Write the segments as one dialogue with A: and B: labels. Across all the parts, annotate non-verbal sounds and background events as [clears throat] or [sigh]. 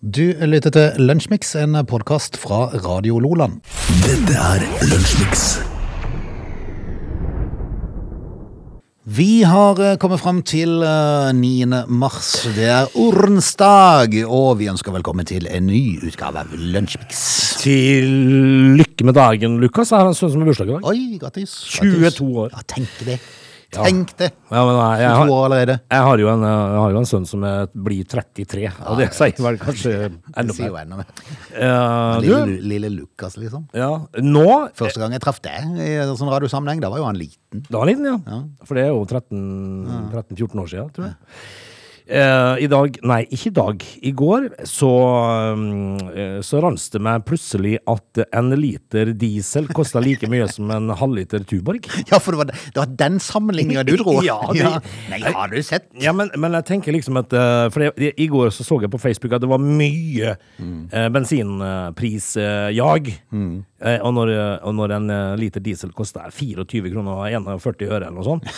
A: Du lytter til Lunsjmix, en podkast fra Radio Loland.
B: Dette er Lunsjmix.
A: Vi har eh, kommet fram til eh, 9. mars. Det er ordensdag, og vi ønsker velkommen til en ny utgave av Lunsjmix.
C: Til lykke med dagen, Lukas. Jeg har en sønn som har bursdag i dag.
A: Oi, grattis. grattis.
C: 22 år.
A: Ja, tenk det. Tenk det.
C: Ja, men nei, jeg,
A: 22
C: har,
A: år allerede.
C: jeg, har jo en, eh, jeg har jo en sønn som er, blir 33, og det sier vel kanskje
A: Det
C: enda
A: sier jo
C: mer.
A: enda mer.
C: Eh, du,
A: Lille, lille Lukas, liksom.
C: ja, nå
A: Første gang jeg traff deg i en sånn radiosammenheng, da var jo han liten.
C: Da var han liten, ja. For det er jo 13-14 år siden, tror jeg. Eh, I dag, nei, ikke i dag. I går så, mm, eh, så ranns det meg plutselig at en liter diesel kosta like mye som en halvliter Tuborg.
A: [laughs] Ja, for det var, det var den sammenligninga du dro.
C: [laughs] Ja, det-
A: Nei, har du sett?
C: Ja, men, men jeg tenker liksom at eh, For det, i går så så jeg på Facebook at det var mye
A: Mm.
C: eh, bensinprisjag. og, når, eh, og når en eh, liter diesel koster 24 kroner og 41 øre eller
A: [laughs]
C: noe sånt,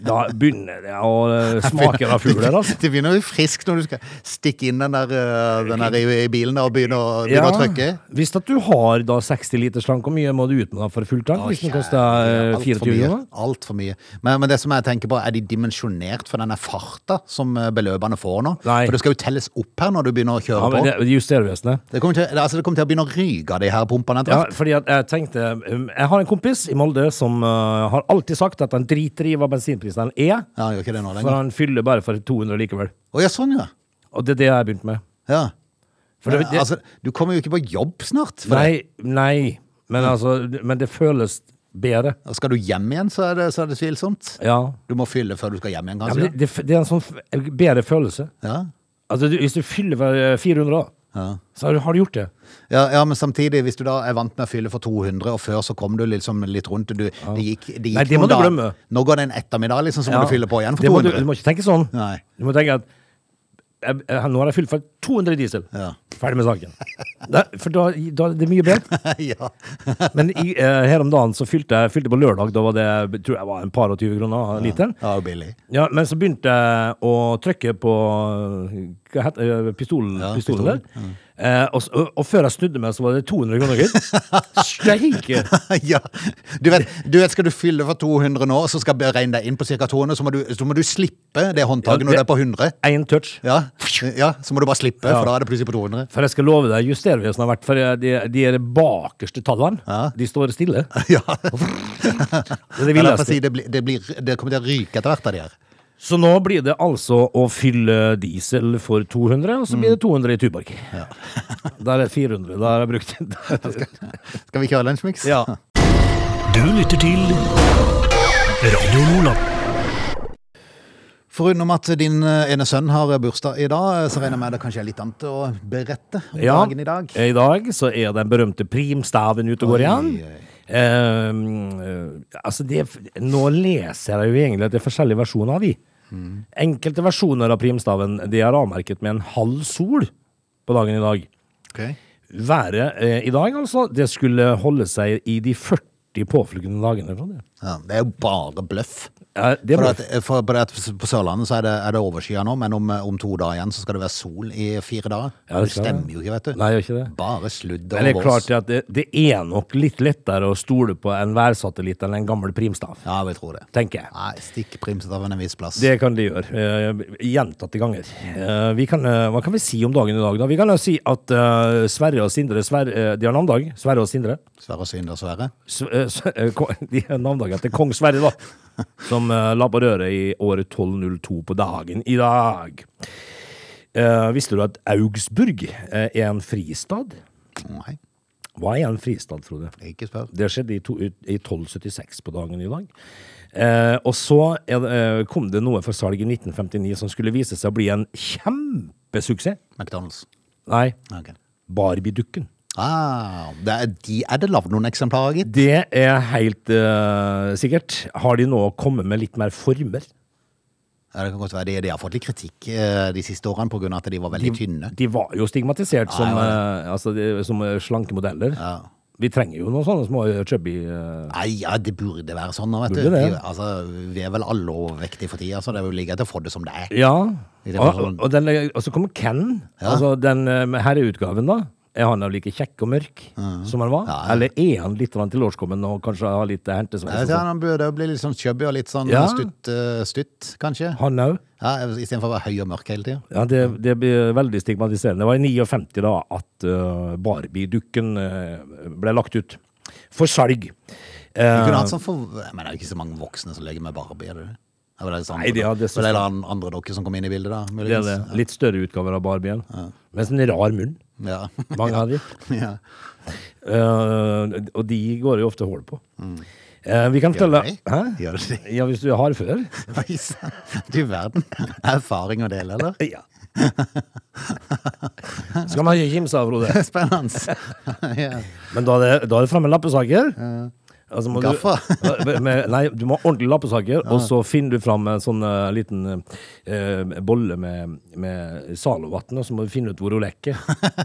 C: da begynner det å eh, smake av fugl her, altså.
A: [laughs] Det begynner jo friskt når du skal stikke inn den der, øh, den der i, i bilen og begynne å, begynne å trykke.
C: Hvis at du har da 60 liter slank, hvor mye må du ut med da for full tank? hvis den koster eh,
A: Alt for
C: 24
A: mye.
C: kroner?
A: Alt for mye. Men, men det som jeg tenker på, er de dimensjonert for denne farta som øh, beløpene får nå?
C: Nei.
A: For det skal jo telles opp her når du begynner å kjøre
C: Ja, men
A: på.
C: det,
A: Det,
C: Justervesenet.
A: kommer til, altså, det kommer til å begynne å ryke av de her pumpene etter
C: Ja,
A: hvert.
C: fordi at jeg tenkte um, Jeg har en kompis i Molde som eh, har alltid sagt at han driter i hva bensinprisen er.
A: Ja, gjør ikke det nå
C: For
A: lenger.
C: han fyller bare for 200 likevel.
A: Å ja, sånn ja.
C: Og det er det jeg har begynt med.
A: ja.
C: For det,
A: Men,
C: det,
A: altså, du kommer jo ikke på jobb snart. For det. Mm.
C: nei, nei. Men altså Men det føles bedre.
A: Og Skal du hjem igjen, så er det, så er det tvilsomt.
C: Ja.
A: Du må fylle før du skal hjem igjen,
C: ja
A: kanskje.
C: men det, det, det er en sånn f- bedre følelse.
A: Ja.
C: Altså, du, hvis du fyller for eh, 400, da,
A: Ja.
C: så har du, har du gjort det.
A: Ja, ja, men samtidig, hvis du da er vant med å fylle for 200, og før så kom du liksom litt rundt du, det gikk, det gikk
C: Nei, det må
A: noen
C: du
A: dager.
C: glemme.
A: Nå går det en ettermiddag, liksom, så må
C: Ja.
A: du fylle på igjen for
C: Det må du,
A: 200.
C: du må ikke tenke sånn.
A: Nei. [laughs]
C: Du må tenke at jeg, jeg, Nå har jeg fylt for 200 diesel.
A: Ja.
C: Ferdig med saken. Da, for da, da er det mye bedre.
A: ja.
C: Men i, eh, her om dagen så fylte jeg fylte på lørdag. Da var det tror jeg var en par og 20 kroner literen.
A: ja, og billig.
C: Ja, men så begynte jeg å trykke på hva heter, eh, pistolen,
A: Ja,
C: pistolen
A: pistolen,
C: der. Eh, og, s- og, og før jeg snudde meg, så var det 200 kroner,
A: [laughs]
C: gitt. Steike!
A: [laughs] ja. Du vet, du vet, skal du fylle for 200 nå, så skal jeg beregne deg inn på ca. 200, så må du, så må du slippe det håndtaket
C: Ja,
A: når du
C: det-
A: er på 100.
C: Én touch.
A: Ja. ja, så må du bare slippe,
C: Ja.
A: for da er det plutselig på 200.
C: For jeg skal love deg, justervesenet har vært For eh, de, de er bakerste tallene.
A: Ja.
C: De står stille.
A: [laughs] [laughs] Ja.
C: Det er det
A: Eller for å si,
C: villeste.
A: det, blir, det, blir, det kommer til å ryke etter hvert av de her.
C: Så nå blir det altså å fylle diesel for 200, og så
A: Mm.
C: blir det 200 i Tuborg. [laughs] Da er det 400. Da har jeg
A: [laughs]
C: brukt
A: Skal vi kjøre lunsjmix?
C: Ja.
B: Du lytter til Radio Lola.
A: Foruten om at din eh, ene sønn har bursdag i dag, eh, så regner jeg med det kanskje er litt annet å berette om
C: Ja,
A: dagen [laughs] i dag.
C: I dag så er den berømte primstaven ute og går igjen.
A: Oi, oi.
C: Ehm, eh, altså det, nå leser jeg jo egentlig at det er forskjellige versjoner av de.
A: Mm.
C: Enkelte versjoner av primstaven de er avmerket med en halv sol på dagen i dag.
A: Ok.
C: Været eh, i dag, altså, det skulle holde seg i de 40 påfølgende dagene. Fra det.
A: Ja, det er jo bare bløff.
C: Ja, det
A: For,
C: ble,
A: at, eh, for, for at På Sørlandet så er det, er det overskyet nå, men om, eh, om to dager igjen så skal det være sol i fire dager.
C: Ja, det
A: det
C: skal
A: stemmer
C: det.
A: jo ikke, vet du.
C: Nei, gjør ikke det.
A: Bare sludd
C: men det
A: og
C: er
A: vås.
C: klart at det, det er nok litt lettere å stole på en værsatellitt enn en gammel primstav,
A: Ja, vi tror det.
C: tenker jeg.
A: Nei, stikk primset av en viss plass.
C: Det kan de gjøre. eh, gjentatte ganger. Eh, vi kan, eh, hva kan vi si om dagen i dag, da? Vi kan jo si at eh, Sverre og Sindre Sverre, eh, De har navndag. Sverre og Sindre.
A: Sverre og Synder Sverre.
C: S eh, s eh, ko- [laughs] de har navndagen til kong Sverre, da. Som eh, la på røret i året 1202 på dagen i dag. Eh, visste du at Augsburg eh, er en fristad?
A: Nei,
C: Hva er en fristad, Frode?
A: ikke spør.
C: Det skjedde i, to, i 1276 på dagen i dag. Eh, og så er, det- eh, kom det noe for salg i 1959 som skulle vise seg å bli en kjempesuksess.
A: McDonald's.
C: Nei,
A: Ok.
C: Barbie-dukken.
A: Ah, det er, de er det lagd noen eksemplarer, gitt.
C: Det er helt eh, sikkert. Har de nå kommet med litt mer former?
A: Ja, det kan godt være. De, de har fått litt kritikk eh, de siste årene pga. at de var veldig tynne.
C: De var jo stigmatisert som,
A: ja,
C: eh, altså, de, som eh, slanke modeller.
A: Ja.
C: Vi trenger jo noen sånne små eh, chubby eh,
A: Nei, ja, det burde være sånn nå, vet du.
C: Burde det.
A: Vi, altså, vi er vel alle overvektige for tida, så det er jo like greit å få det som det er.
C: Ja.
A: I det
C: Og,
A: forstand.
C: og, den, eh, og så kommer Ken.
A: Ja.
C: Altså den eh, med herreutgaven, da. Er han da like kjekk og mørk som han var?
A: Mhm. Ja, ja.
C: Eller er han litt grann tilårskommen og kanskje har litt
A: Jeg vet ikke,
C: hentesveis?
A: Han burde jo bli litt sånn chubby og litt sånn
C: Ja.
A: stutt, eh, stutt, kanskje.
C: Han òg?
A: Ja, Istedenfor å være høy og mørk hele tida.
C: Ja, det, det blir veldig stigmatiserende. Det var i 59 da at eh, Barbie-dukken eh, ble lagt ut for salg.
A: Du
C: Eh,
A: kunne hatt sånn for... Men det er jo ikke så mange voksne som leker med Barbie, er det det? Eller er det sånn,
C: Nei, det er- det er så-
A: Eller er det an- andre dokker som kom inn i bildet, da?
C: det er
A: Muligens?
C: det. Litt større utgaver av Barbien. Med sånn rar munn.
A: Ja. [laughs]
C: Mange av de.
A: ja.
C: Eh, og de går jo ofte hull på.
A: Mm.
C: Eh, vi kan fortelle
A: de?
C: Hæ?
A: Gjør de det? [laughs]
C: Ja, hvis du har før.
A: Oi, sann. Du verden. [laughs] Erfaring å dele, [laughs] eller?
C: Ja. [laughs] Skal man ikke kimse av, Frode.
A: [laughs] Spennende. ja.
C: Men da er det, da er det fremme lappesaker. Altså må [laughs]
A: Gaffa.
C: Du, med, nei, du må ha ordentlige lappesaker, og så finner du fram en sånn eh, liten eh, bolle med, med Zalovatn, og så må du finne ut hvor hun lekker.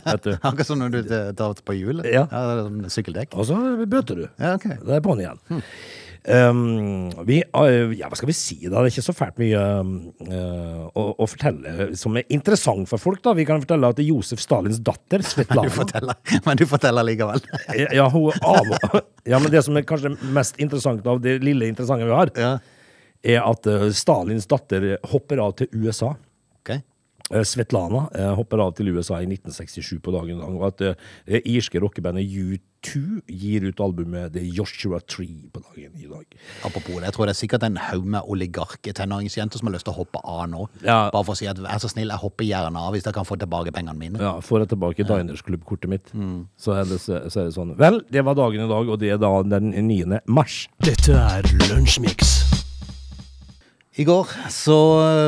C: Vet du.
A: Akkurat som når du eh, tar på hjul.
C: Ja.
A: det er sånn sykkeldekk.
C: Og så bøter du.
A: Ja, ok.
C: Da er jeg på'n igjen. Um, vi, eh, ja, hva skal vi si, da? Det er ikke så fælt mye um, eh, å, å fortelle som er interessant for folk. da. Vi kan fortelle at det er Josef Stalins
A: [laughs]
C: datter,
A: Du
C: Svetlana
A: forteller, men du forteller
C: [laughs]
A: likevel.
C: Ja, ja, hun av, ja, men det som er kanskje mest interessant av det lille interessante vi har,
A: Ja.
C: er at eh, Stalins datter hopper av til USA.
A: Ok.
C: Eh, Svetlana eh, hopper av til USA i 1967 på dagen. Og at eh, det irske rockebandet U2 gir ut albumet The Joshua Tree på dagen i dag.
A: Apropos det, jeg tror det er sikkert en haug med oligark-tenåringsjenter som har lyst til å hoppe av nå.
C: Ja.
A: Bare for å si at vær så snill, jeg hopper gjerne av hvis jeg kan få tilbake pengene mine.
C: Ja, Får jeg tilbake Diners-klubbkortet mitt,
A: Mm.
C: så, er det, så er det sånn. Vel, det var dagen i dag, og det er da den 9. mars.
B: Dette er Lunsjmix.
A: I går så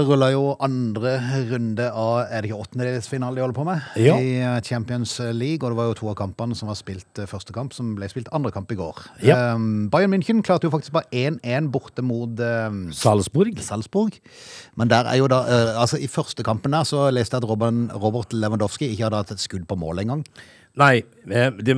A: rulla jo andre runde av Er det ikke åttendedelsfinale de holder på med?
C: Ja.
A: I eh, Champions League, og det var jo to av kampene som var spilt eh, første kamp, som ble spilt andre kamp i går.
C: Ja.
A: Um, Bayern München klarte jo faktisk bare 1-1 borte mot um,
C: Salzburg.
A: Salzburg. Men der er jo da eh, Altså, i første kampen der så leste jeg at Robin, Robert Lewandowski ikke hadde hatt et skudd på mål engang.
C: Nei, eh, det,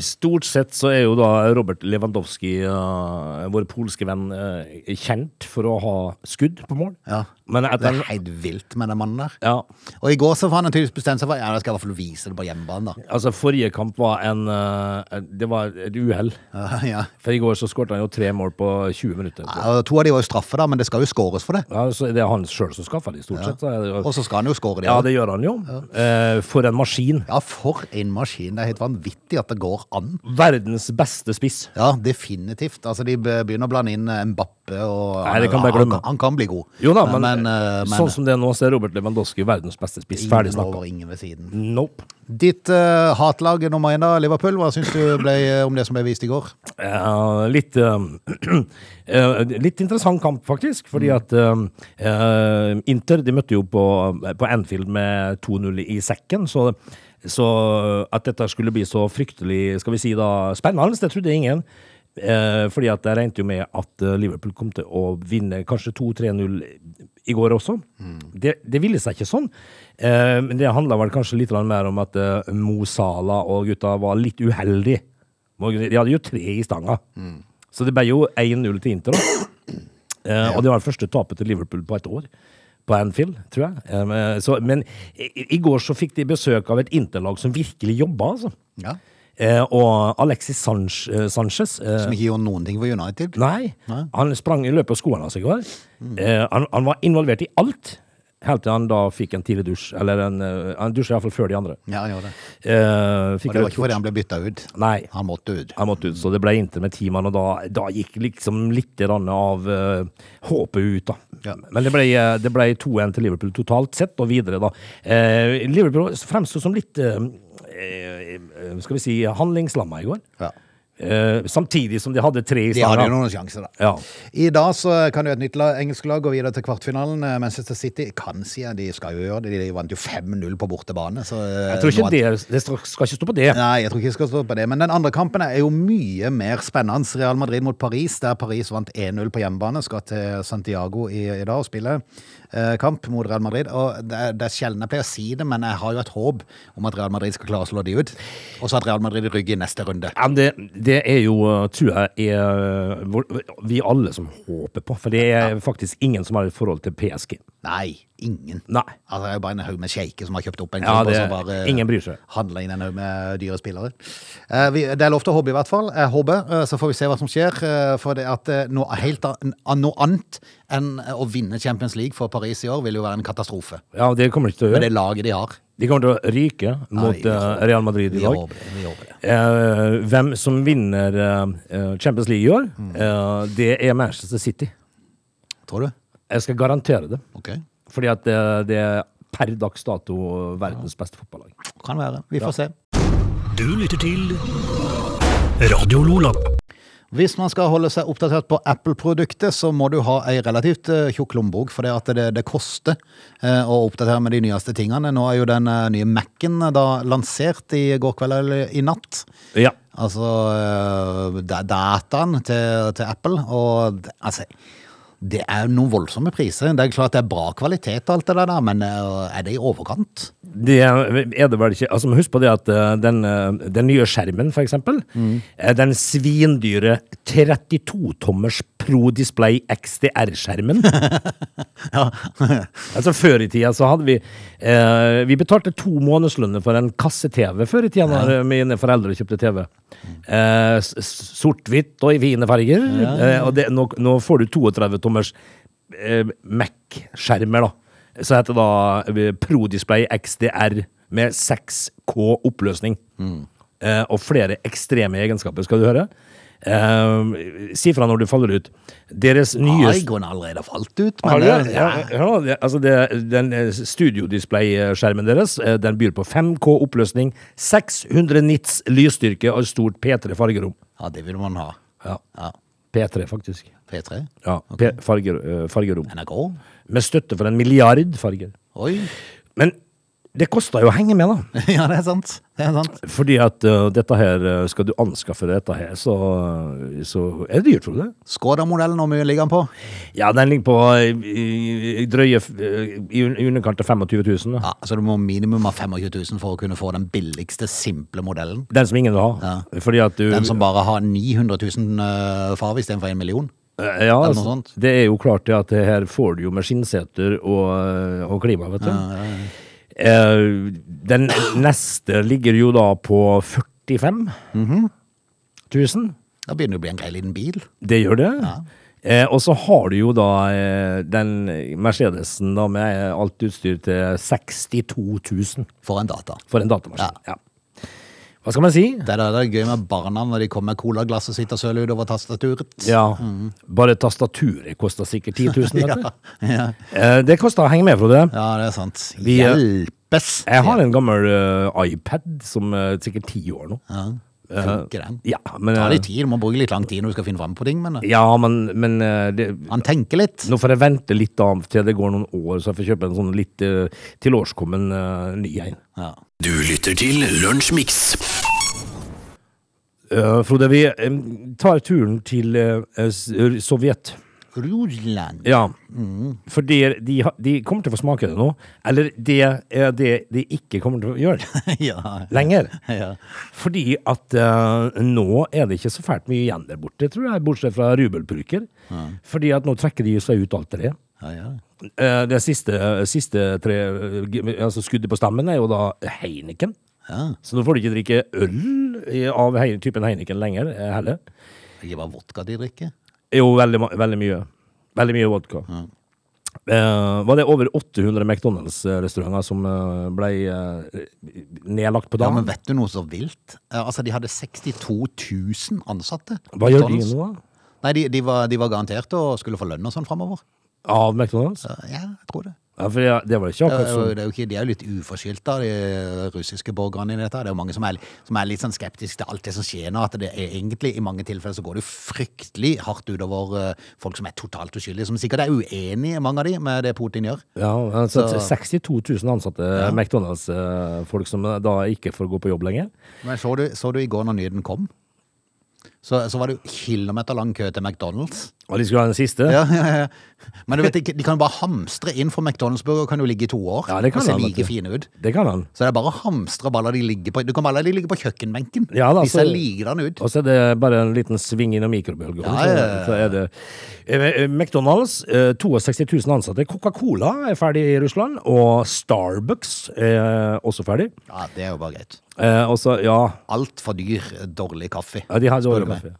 C: stort sett så er jo da Robert Lewandowski, eh, vår polske venn, eh, kjent for å ha skudd på mål.
A: Ja.
C: Men at
A: Det
C: han,
A: er helt vilt med den mannen der.
C: ja,
A: Og i går så var han tydeligvis bestemt seg for Ja, jeg skal i hvert fall vise det på hjemmebane, da.
C: altså forrige kamp var en eh, Det var et uhell.
A: [laughs] Ja, ja.
C: For i går så skåret han jo tre mål på 20 minutter.
A: Ja, og To av de var jo straffe, da, men det skal jo skåres for det.
C: Ja, så det er han sjøl som skaffa de, stort sett. så er det jo-
A: Og så skal han jo skåre, de
C: Ja,
A: òg.
C: det gjør han jo. Eh, For en maskin.
A: Ja, for en maskin. Det er helt vanvittig at det går an.
C: Verdens beste spiss.
A: Ja, definitivt. Altså, De be- begynner å blande inn eh, Mbappe og
C: Nei, det kan bare glemme.
A: Han, han kan bli god.
C: Jo da, men,
A: eh, men
C: sånn som det er nå, så er Robert Lewandowski verdens beste spiss. Ferdig
A: ingen
C: snakka.
A: over ingen ved siden.
C: Nope.
A: Ditt eh, hatlag nummer én, da, Liverpool. Hva syns du ble, eh, om det som ble vist i går?
C: Eh, litt, eh, [clears throat] eh, litt interessant kamp, faktisk. Fordi at eh, eh, Inter de møtte jo på, på Anfield med 2-0 i sekken. Så, så at dette skulle bli så fryktelig skal vi si da, spennende, det trodde ingen. Eh, fordi at jeg regnet jo med at eh, Liverpool kom til å vinne kanskje 2-3-0 i går også. Det, det ville seg ikke sånn. Eh, men det handla vel kanskje litt grann mer om at eh, Mo Salah og gutta var litt uheldige. Må- De hadde jo tre i stanga.
A: Mm.
C: Så det ble jo 1-0
A: [clears throat]
C: til Inter. Da. Eh, og det var det første tapet til Liverpool på et år. På Anfield, tror jeg. Em, eh, så, men i, i går så fikk de besøk av et Inter-lag som virkelig jobba, altså.
A: Ja.
C: Eh, og Alexis Sanch, eh, Sanchez eh,
A: Som ikke gjorde noen ting for United?
C: Nei, han sprang i løpet av skoene hans i går.
A: Mm.
C: Eh, han, han var involvert i alt. Helt til han da fikk en tidlig dusj. Eller en, eh, han dusja iallfall før de andre.
A: Ja, han gjorde det.
C: Eh,
A: Og det var
C: fikk rødt
A: ikke
C: kort.
A: fordi han ble bytta ut.
C: Nei.
A: Han måtte ut.
C: Jeg måtte ut, så det ble Inter med ti mann, og da, da gikk liksom litt grann av eh, håpet ut, da.
A: Ja.
C: Men det ble, eh, det ble 2-1 til Liverpool totalt sett, og videre, da. Eh, Liverpool fremsto som litt eh, eh, eh, Skal vi si handlingslamma i går.
A: Ja.
C: eh, samtidig som de hadde tre i
A: De hadde jo
C: starten.
A: noen sjanser, da.
C: Ja.
A: I dag så kan jo et nytt la- engelsk lag gå videre til kvartfinalen. Eh, Manchester City kan, sier jeg. De skal jo gjøre det. De vant jo 5-0 på bortebane. Så eh,
C: Jeg tror ikke det, det skal skal ikke stå på det.
A: Nei, jeg tror ikke jeg skal stå på det. Men den andre kampen er jo mye mer spennende. Real Madrid mot Paris, der Paris vant 1-0 på hjemmebane. Skal til Santiago i, i dag og spille eh, kamp mot Real Madrid. Og det, er- det er sjelden jeg pleier å si det, men jeg har jo et håp om at Real Madrid skal klare å slå de ut. Og så at Real Madrid rygger i neste runde.
C: Ja, men det, det er jo, uh, tror jeg, er eh, hvor- vi alle som håper på. For det er faktisk ingen som har et forhold til PSG.
A: Nei, ingen.
C: Nei.
A: Altså, det er jo bare en haug med sjeiker som har kjøpt opp en
C: Ja,
A: klubb, og
C: det-
A: så bare
C: ingen bryr seg.
A: handla inn en haug med dyre spillere. Eh, vi, det er lov til å håpe, i hvert fall. Jeg håper, eh, så får vi se hva som skjer. eh, for det at eh, noe, helt an, noe annet enn eh, å vinne Champions League for Paris i år vil jo være en katastrofe.
C: Ja, det kommer de ikke til å
A: Med det
C: gjøre.
A: laget de har.
C: De kommer til å ryke mot
A: vi
C: uh,
A: håper-
C: Real Madrid i
A: Vi
C: dag.
A: håper det. Vi håper det.
C: Eh, hvem som vinner eh, Champions League i år, eh, det er Manchester City.
A: Tror du?
C: Jeg skal garantere det.
A: Ok.
C: Fordi at det, det er per dags dato verdens beste fotballag.
A: Kan være. Vi får se.
B: Du lytter til Radio Lola.
A: Hvis man skal holde seg oppdatert på Apple-produktet, så må du ha ei relativt eh, tjukk lommebok, for det, at det, det koster eh, å oppdatere med de nyeste tingene. Nå er jo den eh, nye Mac-en eh, da lansert i går kveld eller i natt.
C: Ja.
A: Altså eh, da- dataen til, til Apple, og det- altså Det er jo noen voldsomme priser. Det er klart det er bra kvalitet, og alt det der, men eh, er det i overkant? [laughs]
C: Det er det vel ikke Altså, men Husk på det at eh, den, eh, den nye skjermen, for eksempel, eh, den svindyre 32-tommers Pro Display XDR-skjermen Altså Før i tida så hadde vi eh, Vi betalte to månedslønner for en kasse-TV før i tida når eh, mine foreldre kjøpte TV. Eh, s- s- Sort-hvitt og i fine farger. Eh, og det, nå, nå får du 32 tommers eh, Mac-skjermer, da. Så heter det da eh, Pro Display XDR med 6K oppløsning. Eh, og flere ekstreme egenskaper, skal du høre. Eh, si fra når du faller ut. Deres nye
A: Har iGone allerede falt ut?
C: har
A: Men,
C: du det?
A: eh,
C: Ja, ja, det- altså det, den eh, studiodisplay-skjermen deres eh, den byr på 5K-oppløsning, 600 nits lysstyrke og et stort P3-fargerom.
A: ja, det vil man ha.
C: Ja.
A: Ja.
C: P3, faktisk.
A: P3?
C: Ja, P farger, eh, fargerom.
A: NRK?
C: Med støtte for en milliard farger.
A: Oi.
C: Men det koster jo å henge med, da.
A: [laughs] Ja, det er sant. Det er sant.
C: Fordi at eh, dette her, eh, skal du anskaffe dette her, så, så er det dyrt, tror du det?
A: Skoda-modellen, hvor mye ligger den på?
C: Ja, den ligger på eh, i- i- drøye f- eh, i un- i underkant av 25 000. Da.
A: Ja, så du må minimum ha 25 000 for å kunne få den billigste, simple modellen.
C: Den som ingen vil ha. Fordi at du
A: Den som bare har 900 000 uh, farve istedenfor 1 million.
C: Eh, Ja,
A: Eller noe
C: altså,
A: sånt.
C: det er jo klart det at det her får du jo med skinnseter og, og klima, vet du. Eh, Den neste ligger jo da på 45 000.
A: Da begynner det å bli en grei liten bil.
C: Det gjør det. Eh, og så har du jo da eh, den Mercedesen da med eh, alt utstyr til 62 000
A: For en data.
C: for en datamaskin. Ja. Hva skal man si?
A: Det er, det er gøy med barna når de kommer med colaglass og sitter og søler utover tastaturet.
C: Ja, Bare tastaturet koster sikkert 10 000. Vet du.
A: [laughs] [laughs] ja. ja.
C: Eh, det koster å henge med, Frode.
A: ja, det er sant.
C: Vi, eh,
A: Hjelpes!
C: Jeg har en gammel eh, iPad som er sikkert ti år nå. Eh,
A: Ja. Funker den?
C: Ja, men,
A: Ta
C: eh,
A: litt tid, du må bruke litt lang tid når du skal finne fram på ting, men eh,
C: ja, men, men eh, det,
A: han tenker litt.
C: nå får jeg vente litt da, til det går noen år, så jeg får kjøpe en sånn litt eh, tilårskommen eh, ny en.
A: Ja.
B: Du lytter til Lunsjmix.
C: Eh, Frode, vi eh, tar turen til eh, S- Sovjet.
A: Russland.
C: Ja.
A: Mm.
C: For det, de, ha- de kommer til å få smake det nå. Eller det er det de ikke kommer til å [laughs] gjøre
A: [laughs] ja.
C: lenger.
A: [laughs] ja.
C: Fordi at eh, nå er det ikke så fælt mye igjen der borte, tror jeg, bortsett fra rubelbruker. Fordi at nå trekker de seg ut alt det.
A: ja, ja.
C: Uh, det siste, siste tre, eh, altså skuddet på stammen er jo da Heineken.
A: Ja.
C: Så nå får du ikke drikke øl i- av hei, typen Heineken lenger eh, heller.
A: Det er Ikke bare vodka de drikker.
C: Jo, veldig, ma- veldig mye. Veldig mye vodka. Eh, var det over 800 McDonald's-restauranter som eh, ble eh, nedlagt på
A: Ja,
C: dagen?
A: men vet du noe så vilt? Eh, Altså, De hadde 62 000 ansatte.
C: Hva gjør de
A: McDonald's.
C: nå, da?
A: Nei, de, de, var, de var garantert å skulle få lønn og sånn framover.
C: Av McDonald's?
A: Ja, jeg tror det.
C: Ja, for jeg, det var jo ikke
A: Det er
C: akkurat
A: jo,
C: sånn.
A: det er jo ikke, de er jo litt uforskyldt, da, de russiske borgerne i dette. her. Det er jo mange som er, som er litt sånn skeptiske til alt det som skjer nå. At det er egentlig, i mange tilfeller, så går det jo fryktelig hardt utover eh, folk som er totalt uskyldige. Som sikkert er uenige, mange av de, med det Putin gjør.
C: Ja, altså,
A: Så-
C: 62 000 ansatte McDonald's-folk som eh, da ikke får gå på jobb lenger.
A: Men så du, så du i går når nyheten kom? Så, så var det jo kilometer lang kø til McDonald's.
C: Og de skulle ha den siste.
A: Ja, ja, ja. Men du vet, ikke, de kan jo bare hamstre inn, for McDonald's-burger kan jo ligge i to år
C: Ja, det kan
A: og se
C: han, vet du.
A: like fine ut.
C: Det kan han.
A: Så det er bare å hamstre og bare la de ligge på Du kan bare la de ligge på kjøkkenbenken.
C: Ja, da,
A: de ser
C: så-
A: likedan ut.
C: Og så er det bare en liten sving innom mikrobølgeovnen.
A: Ja, ja, ja.
C: så- Så er det Eh, eh, McDonald's, eh, 62 000 ansatte. Coca-Cola er ferdig i Russland. Og Starbucks er også ferdig.
A: Ja, Det er jo bare greit.
C: Eh, Og så, ja
A: Altfor dyr, dårlig kaffe.
C: ja, de har
A: Spør
C: dårlig
A: du meg.
C: kaffe.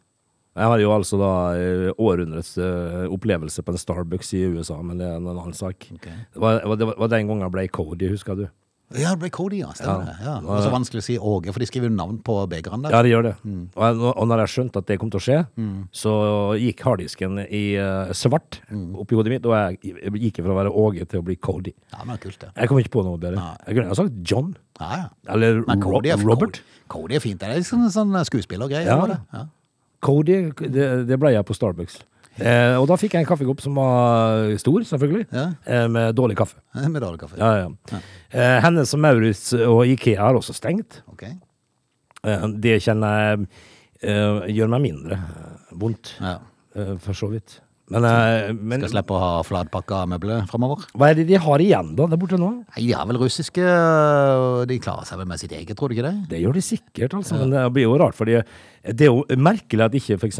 C: Jeg har jo altså da eh, århundrets eh, opplevelse på en Starbucks i USA, men det er en annen sak. Det, var, det var- det var den gangen jeg ble Cody, husker du?
A: Ja, det ble Cody, ja. Stemmer det. Ja. Og så vanskelig å si Åge, for de skriver jo navn på begeren der.
C: Ja, det gjør det.
A: Mm.
C: Og, jeg, og når jeg skjønte at det kom til å skje, så gikk harddisken i eh, svart
A: Mm.
C: oppi hodet mitt, og jeg gikk fra å være Åge til å bli Cody.
A: Ja, men det er kult, det.
C: Jeg kom ikke på noe bedre. Jeg kunne ha sagt John.
A: Ja, ja.
C: Eller
A: Men
C: Ro
A: Cody er,
C: Robert.
A: Cody, Cody er fint. Det er liksom en sånn skuespillergreie.
C: Ja.
A: over det. Ja. [laughs]
C: Cody, det, det ble jeg på Starbucks. Eh, og da fikk jeg en kaffekopp som var stor, selvfølgelig,
A: Ja.
C: eh, med dårlig kaffe.
A: Med dårlig kaffe.
C: Ja, ja. Eh, Hennes og Maurits og Ikea er også stengt.
A: Ok.
C: Eh, det kjenner jeg eh, gjør meg mindre eh, vondt.
A: Ja.
C: Eh, for så vidt. Men, eh, men
A: Skal slippe å ha flatpakka møbler framover.
C: hva er det de har igjen da, der borte nå?
A: Nei, de er vel russiske, og de klarer seg vel med sitt eget, tror du ikke det?
C: Det gjør de sikkert, altså, men det blir jo rart. fordi Det er jo merkelig at ikke f.eks.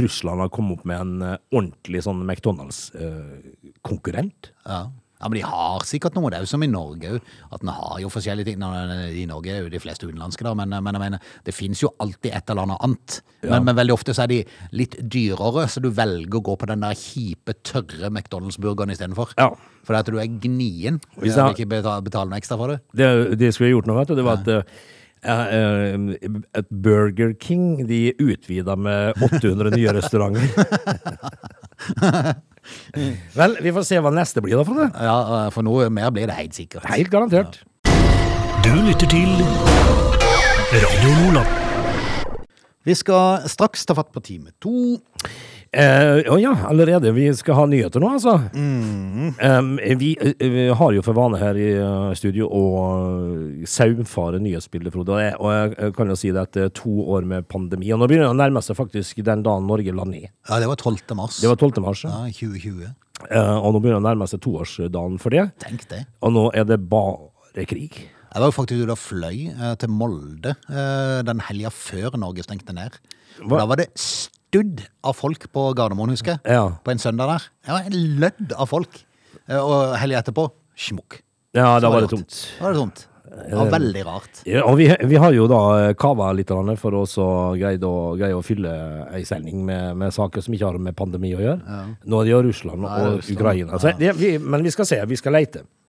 C: Russland har kommet opp med en eh, ordentlig sånn eh, McDonald's-konkurrent.
A: Ja. ja, men de har sikkert noe. Det er jo som i Norge òg, at en har jo forskjellige ting. Nå, I Norge er jo de fleste utenlandske, da, men, men jeg mener, det fins jo alltid et eller annet annet. Men, men veldig ofte så er de litt dyrere, så du velger å gå på den der kjipe, tørre McDonald's-burgeren istedenfor.
C: Ja.
A: Fordi at du er gnien. Du
C: Hvis jeg-
A: vil ikke betale, betale noe ekstra for det.
C: Det, det skulle jeg gjort nå, vet du. Det var at eh, eh, et Burger King de utvida med 800 nye restauranter. [laughs] Vel, vi får se hva neste blir da, Frode.
A: Ja, eh, For noe mer blir det helt sikkert.
C: Helt garantert.
B: Du lytter til Radio Lola.
A: Vi skal straks ta fatt på time to.
C: Eh, Å ja, allerede. Vi skal ha nyheter nå, altså. Eh, vi, eh, vi har jo for vane her i eh, studio å eh, saumfare nyhetsbildet, Frode. Og jeg, og jeg eh, kan jo si det etter to år med pandemi. Og nå begynner det å nærme seg faktisk den dagen Norge la ned.
A: Ja, det var 12. mars.
C: Det var 12. mars. Ja.
A: Ja, 2020.
C: Eh, og nå begynner det å nærme seg toårsdagen for det.
A: Tenk det.
C: Og nå er det bare krig.
A: Jeg var jo faktisk ute og fløy eh, til Molde eh, den helga før Norge stengte ned.
C: Hva?
A: Og Da var det studd av folk på Gardermoen, husker jeg.
C: Ja.
A: På en søndag der. Det var en lødd av folk. Eh, og helga etterpå, smukk.
C: Ja, da
A: Så
C: var det
A: rart.
C: tomt.
A: Da var det tomt. Det var veldig rart.
C: Ja, og vi, vi har jo da eh, kava litt grann for å så greide å, greie å fylle ei sending med, med saker som ikke har med pandemi å gjøre. Nå er det jo Russland og
A: Russland.
C: Ukraina. Så det, vi, men vi skal se. Vi skal leite.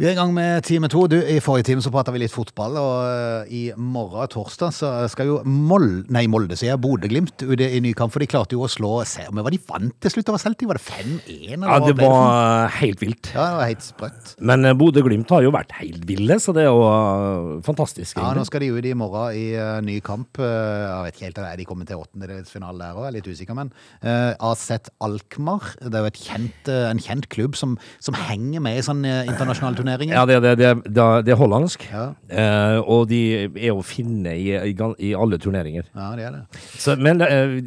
A: Vi er i gang med time to. Du, I forrige time så prata vi litt fotball, og eh, i morgen, torsdag, så skal jo Mold, nei, Molde, sier jeg, Bodø-Glimt ute i ny kamp. For de klarte jo å slå se, Men var de vant til slutt over Celtic? Var det 5-1? eller
C: Ja,
A: hva
C: det
A: ble for noe?
C: var eh, helt vilt.
A: Ja, det var helt sprøtt.
C: Men eh, Bodø-Glimt har jo vært helt ville, så det er jo eh, fantastisk.
A: Ja, nå
C: egentlig.
A: skal de ut i morgen i eh, ny kamp. Eh, jeg vet ikke helt om de kommer til åttendedelsfinale der òg, jeg er litt usikker, men eh, AZ Alkmaar, det er jo et kjent, eh, en kjent klubb som, som henger med i sånne eh, internasjonale turneringer.
C: Ja, det, det, det, det, det er hollandsk.
A: Ja.
C: Eh, og de er å finne i, i, gan- i alle turneringer.
A: Ja, det er det.
C: Så, men eh,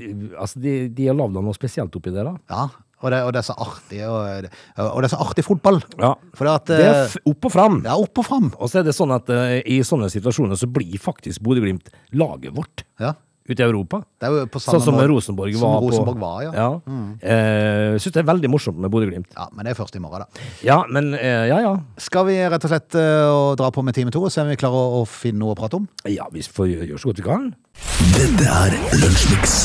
C: altså, de, de har lagd noe spesielt oppi der, da.
A: Ja, og det, og det er så artig og, og det er så artig fotball.
C: Ja.
A: For at,
C: Det er
A: eh,
C: f opp og fram.
A: det er opp og fram.
C: Og så er det sånn at eh, i sånne situasjoner så blir faktisk Bodø-Glimt laget vårt
A: Ja.
C: ute i Europa.
A: Det er jo på samme
C: Sånn som
A: måte-
C: Rosenborg
A: som
C: var
A: Rosenborg
C: på.
A: var, ja. Mm.
C: ja. Eh, Syns det er veldig morsomt med Bodø-Glimt.
A: Ja, Men det er først i morgen, da.
C: Ja, men eh, ja, ja.
A: Skal vi rett og slett eh, å dra på med time to og se om vi klarer å, å finne noe å prate om?
C: Ja, vi får gjø- gjøre så godt vi kan.
B: Dette er Lunsjmix.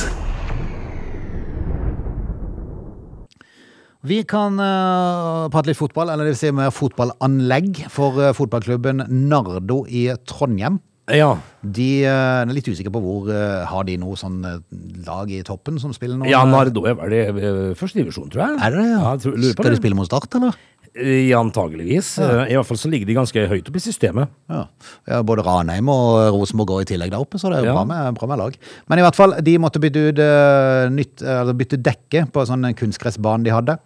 A: Vi kan eh, prate litt fotball, eller det vil si mer fotballanlegg for eh, fotballklubben Nardo i Trondheim.
C: Ja.
A: De eh, jeg er litt usikker på hvor eh, Har de noe sånn eh, lag i toppen som spiller nå?
C: ja, Nardo er vel i eh, første divisjon, tror jeg.
A: Er det det? Ja?
C: jeg tror, lurer på
A: Skal de
C: det.
A: spille mot Start, eller?
C: Eh, Antageligvis. Eh, I hvert fall så ligger de ganske høyt oppe i systemet.
A: Ja. ja, Både Ranheim og Rosenborg går i tillegg der oppe, så det er jo
C: Ja.
A: bra, med, bra med lag. Men i hvert fall, de måtte bytte, ut, eh, nytt, eller bytte dekke på sånn kunstgressbane de hadde.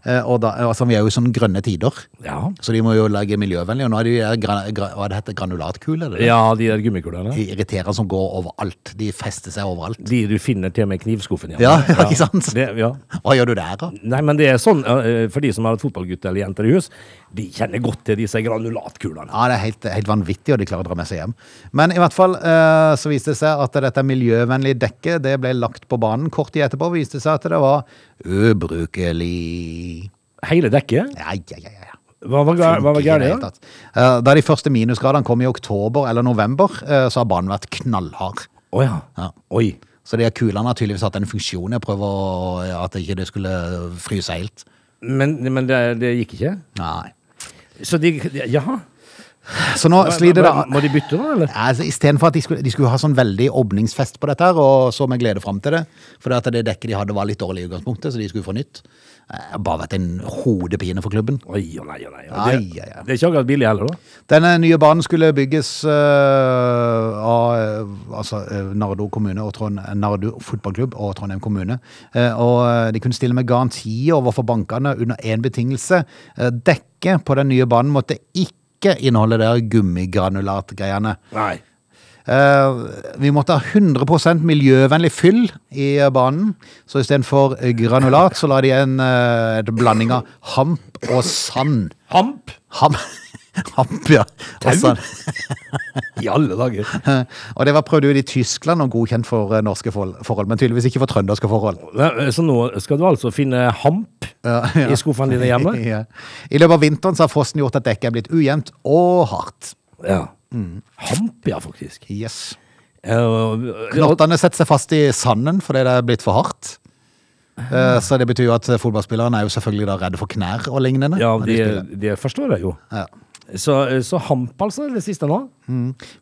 A: Eh, og da, altså, vi er jo i sånne grønne tider,
C: Ja,
A: så de må jo lage miljøvennlig. Og nå er de der gra, gra, hva det heter, granulatkuler. Det,
C: ja de der gummikulene.
A: De irriterer som går overalt. De fester seg overalt.
C: De du finner til og med i knivskuffen.
A: Ja, [laughs] ja, ikke sant?
C: Det, ja.
A: Hva gjør du der, da?
C: Nei, men det er sånn, eh, for de som har et fotballgutt eller jenter i hus, de kjenner godt til disse granulatkulene.
A: Ja, det er helt, helt vanvittig, og de klarer å dra med seg hjem. Men i hvert fall eh, så viste det seg at dette miljøvennlige dekket det ble lagt på banen. Kort tid etterpå viste det seg at det var ubrukelig.
C: Hele dekket?
A: Ja, ja, ja, ja.
C: Hva var, gæ- hva
A: Funker
C: var
A: i det
C: gærent?
A: hele
C: da?
A: tatt. Eh, Da de første minusgradene kom i oktober eller november, eh, så har banen vært knallhard.
C: Å ja.
A: Ja.
C: Oi.
A: Så de her kulene har tydeligvis hatt en funksjon. Jeg prøver å, at ikke det skulle fryse helt.
C: Men, men det, det gikk ikke?
A: Nei.
C: Så de, de Jaha.
A: Så nå sliter det
C: Må- Må de bytte da, eller?
A: Altså, Istedenfor at de skulle, de skulle ha sånn veldig åpningsfest på dette, her, og så med glede fram til det. For det, at det dekket de hadde, var litt dårlig i utgangspunktet, så de skulle få nytt. Det har bare vært en hodepine for klubben.
C: Oi og nei og nei. og
A: Ai,
C: Det,
A: ai, ai.
C: det er ikke akkurat billig heller, da.
A: Denne nye banen skulle bygges øh, av øh, altså, øh, Nardo kommune og Trond, eh, Nardo fotballklubb og Trondheim kommune. Eh, og øh, de kunne stille med garantier overfor bankene under én betingelse. Eh, dekket på den nye banen måtte ikke inneholde det der gummigranulatgreiene.
C: Nei.
A: Eh, vi måtte ha 100 miljøvennlig fyll i eh, banen. Så istedenfor eh, granulat, så la de en eh, et blanding av hamp og sand.
C: Hamp?
A: Ham, [laughs] hamp, ja. Og, sand. [laughs]
C: I alle dager.
A: og det var prøvd ut i Tyskland og godkjent for eh, norske for- forhold, men tydeligvis ikke for trønderske forhold.
C: Nei, eh, Så nå skal du altså finne hamp i skuffene dine
A: [laughs]
C: hjemme?
A: Ja. I løpet av vinteren så har frosten gjort at dekket er blitt ujevnt og hardt.
C: Ja.
A: Mm.
C: Hamp, ja, faktisk.
A: Yes.
C: Eh, og-
A: Knottene setter seg fast i sanden fordi det er blitt for hardt. Eh, Så det betyr jo at fotballspillerne er jo selvfølgelig da redde for knær og lignende.
C: Ja,
A: når de
C: de,
A: spiller.
C: de forstår jeg jo.
A: Ja.
C: Så, så hamp, altså, det siste nå?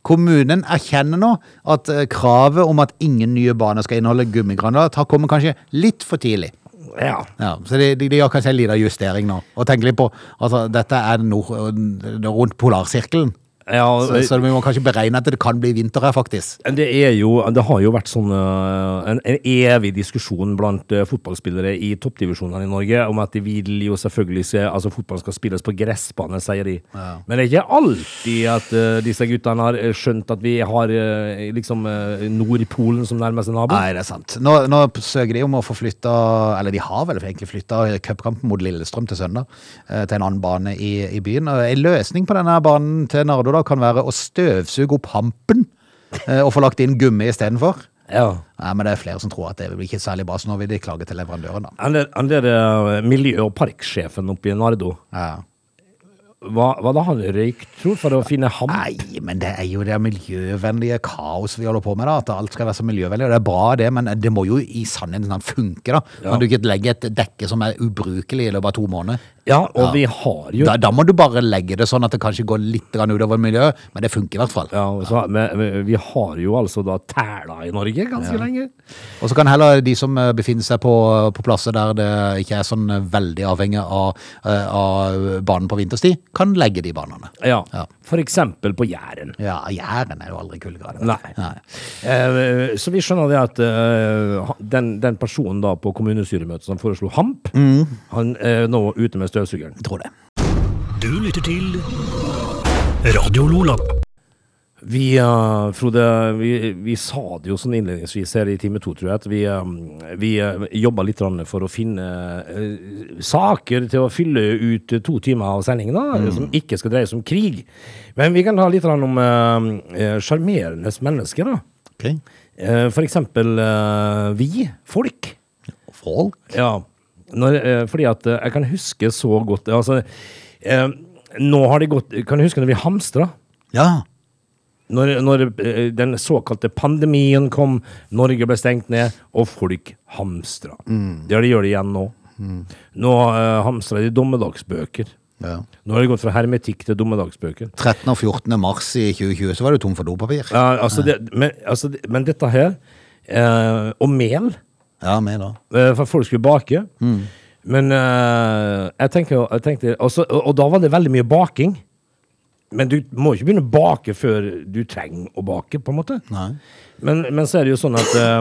A: Kommunen erkjenner nå at eh, kravet om at ingen nye baner skal inneholde gummigranulat, har kommet kanskje litt for tidlig.
C: Ja.
A: Ja, så de, de, de gjør kanskje en liten justering nå. Og tenker litt på altså, dette er nord, det er rundt polarsirkelen,
C: ja eh,
A: så, så vi må kanskje beregne at det kan bli vinter her, faktisk.
C: det er jo Det har jo vært sånn eh, en, en evig diskusjon blant eh, fotballspillere i toppdivisjonene i Norge om at de vil jo selvfølgelig se Altså, fotballen skal spilles på gressbane, sier de. Men det er ikke alltid at eh, disse guttene har eh, skjønt at vi har eh, liksom eh, Nordpolen som nærmeste nabo.
A: Nei, det er sant. Nå, nå søker de om å få flytta Eller de har vel egentlig flytta cupkampen mot Lillestrøm til søndag. eh, Til en annen bane i, i byen. Og En løsning på denne banen til Nardo da kan være å støvsuge opp hampen eh, og få lagt inn gummi istedenfor.
C: Ja.
A: Nei, men det er flere som tror at det blir ikke særlig bra, så nå vil de klage til leverandøren, da.
C: Han der, han der eh, miljø- og parksjefen oppe i Nardo,
A: Ja.
C: hva, hva da han røykt, tror for å finne hamp?
A: Nei, men det er jo det miljøvennlige kaoset vi holder på med, da. At alt skal være så miljøvennlig. Og det er bra, det, men det må jo i sannheten sånn funke, da.
C: Ja.
A: Kan du ikke legge et dekke som er ubrukelig i løpet av to måneder?
C: Ja, og vi har jo
A: Da, da må du bare legge det sånn at det kanskje går litt grann utover miljøet, men det funker i hvert fall.
C: Ja, og så, men, men vi har jo altså da tæla i Norge ganske lenge.
A: Og så kan heller de som eh, befinner seg på, på plasser der det ikke er sånn eh, veldig avhengig av, eh, av banen på vinterstid, kan legge de banene.
C: Ja.
A: Ja.
C: For eksempel på Jæren.
A: Ja, Jæren er jo aldri kuldegrader.
C: Nei. Eh, så vi skjønner det at eh, ha- den, den personen da på kommunestyremøtet som foreslo hamp, han er nå ute med støvsugeren.
A: Jeg tror det.
B: Du lytter til Radio Lola.
C: Vi, eh, Frode, vi, vi sa det jo sånn innledningsvis her i time to, tror jeg, at vi, eh, vi eh, jobba litt grann for å finne eh, saker til å fylle ut to timer av sendingen, da, som ikke skal dreie seg om krig. Men vi kan ta litt grann om eh, eh, sjarmerende mennesker, da. Eh, for eksempel eh, vi, folk.
A: Folk?
C: Ja, når, eh, fordi at eh, jeg kan huske så godt altså, eh, Nå har det gått Kan du huske når vi hamstra?
A: Ja.
C: Når, når eh, den såkalte pandemien kom, Norge ble stengt ned, og folk hamstra. Ja, de gjør det igjen nå. Nå eh, hamstrer de dommedagsbøker.
A: Ja.
C: Nå har de gått fra hermetikk til dommedagsbøker.
A: 13. og 14. mars i 2020 så var du tom for dopapir.
C: Ja, altså det, men, altså det, men dette her, eh, og mel
A: Ja, med da.
C: Eh, For folk skulle bake. Men eh, jeg, tenker, jeg tenkte altså, og, og da var det veldig mye baking. Men du må ikke begynne å bake før du trenger å bake, på en måte.
A: Nei.
C: Men, men så er det jo sånn at eh,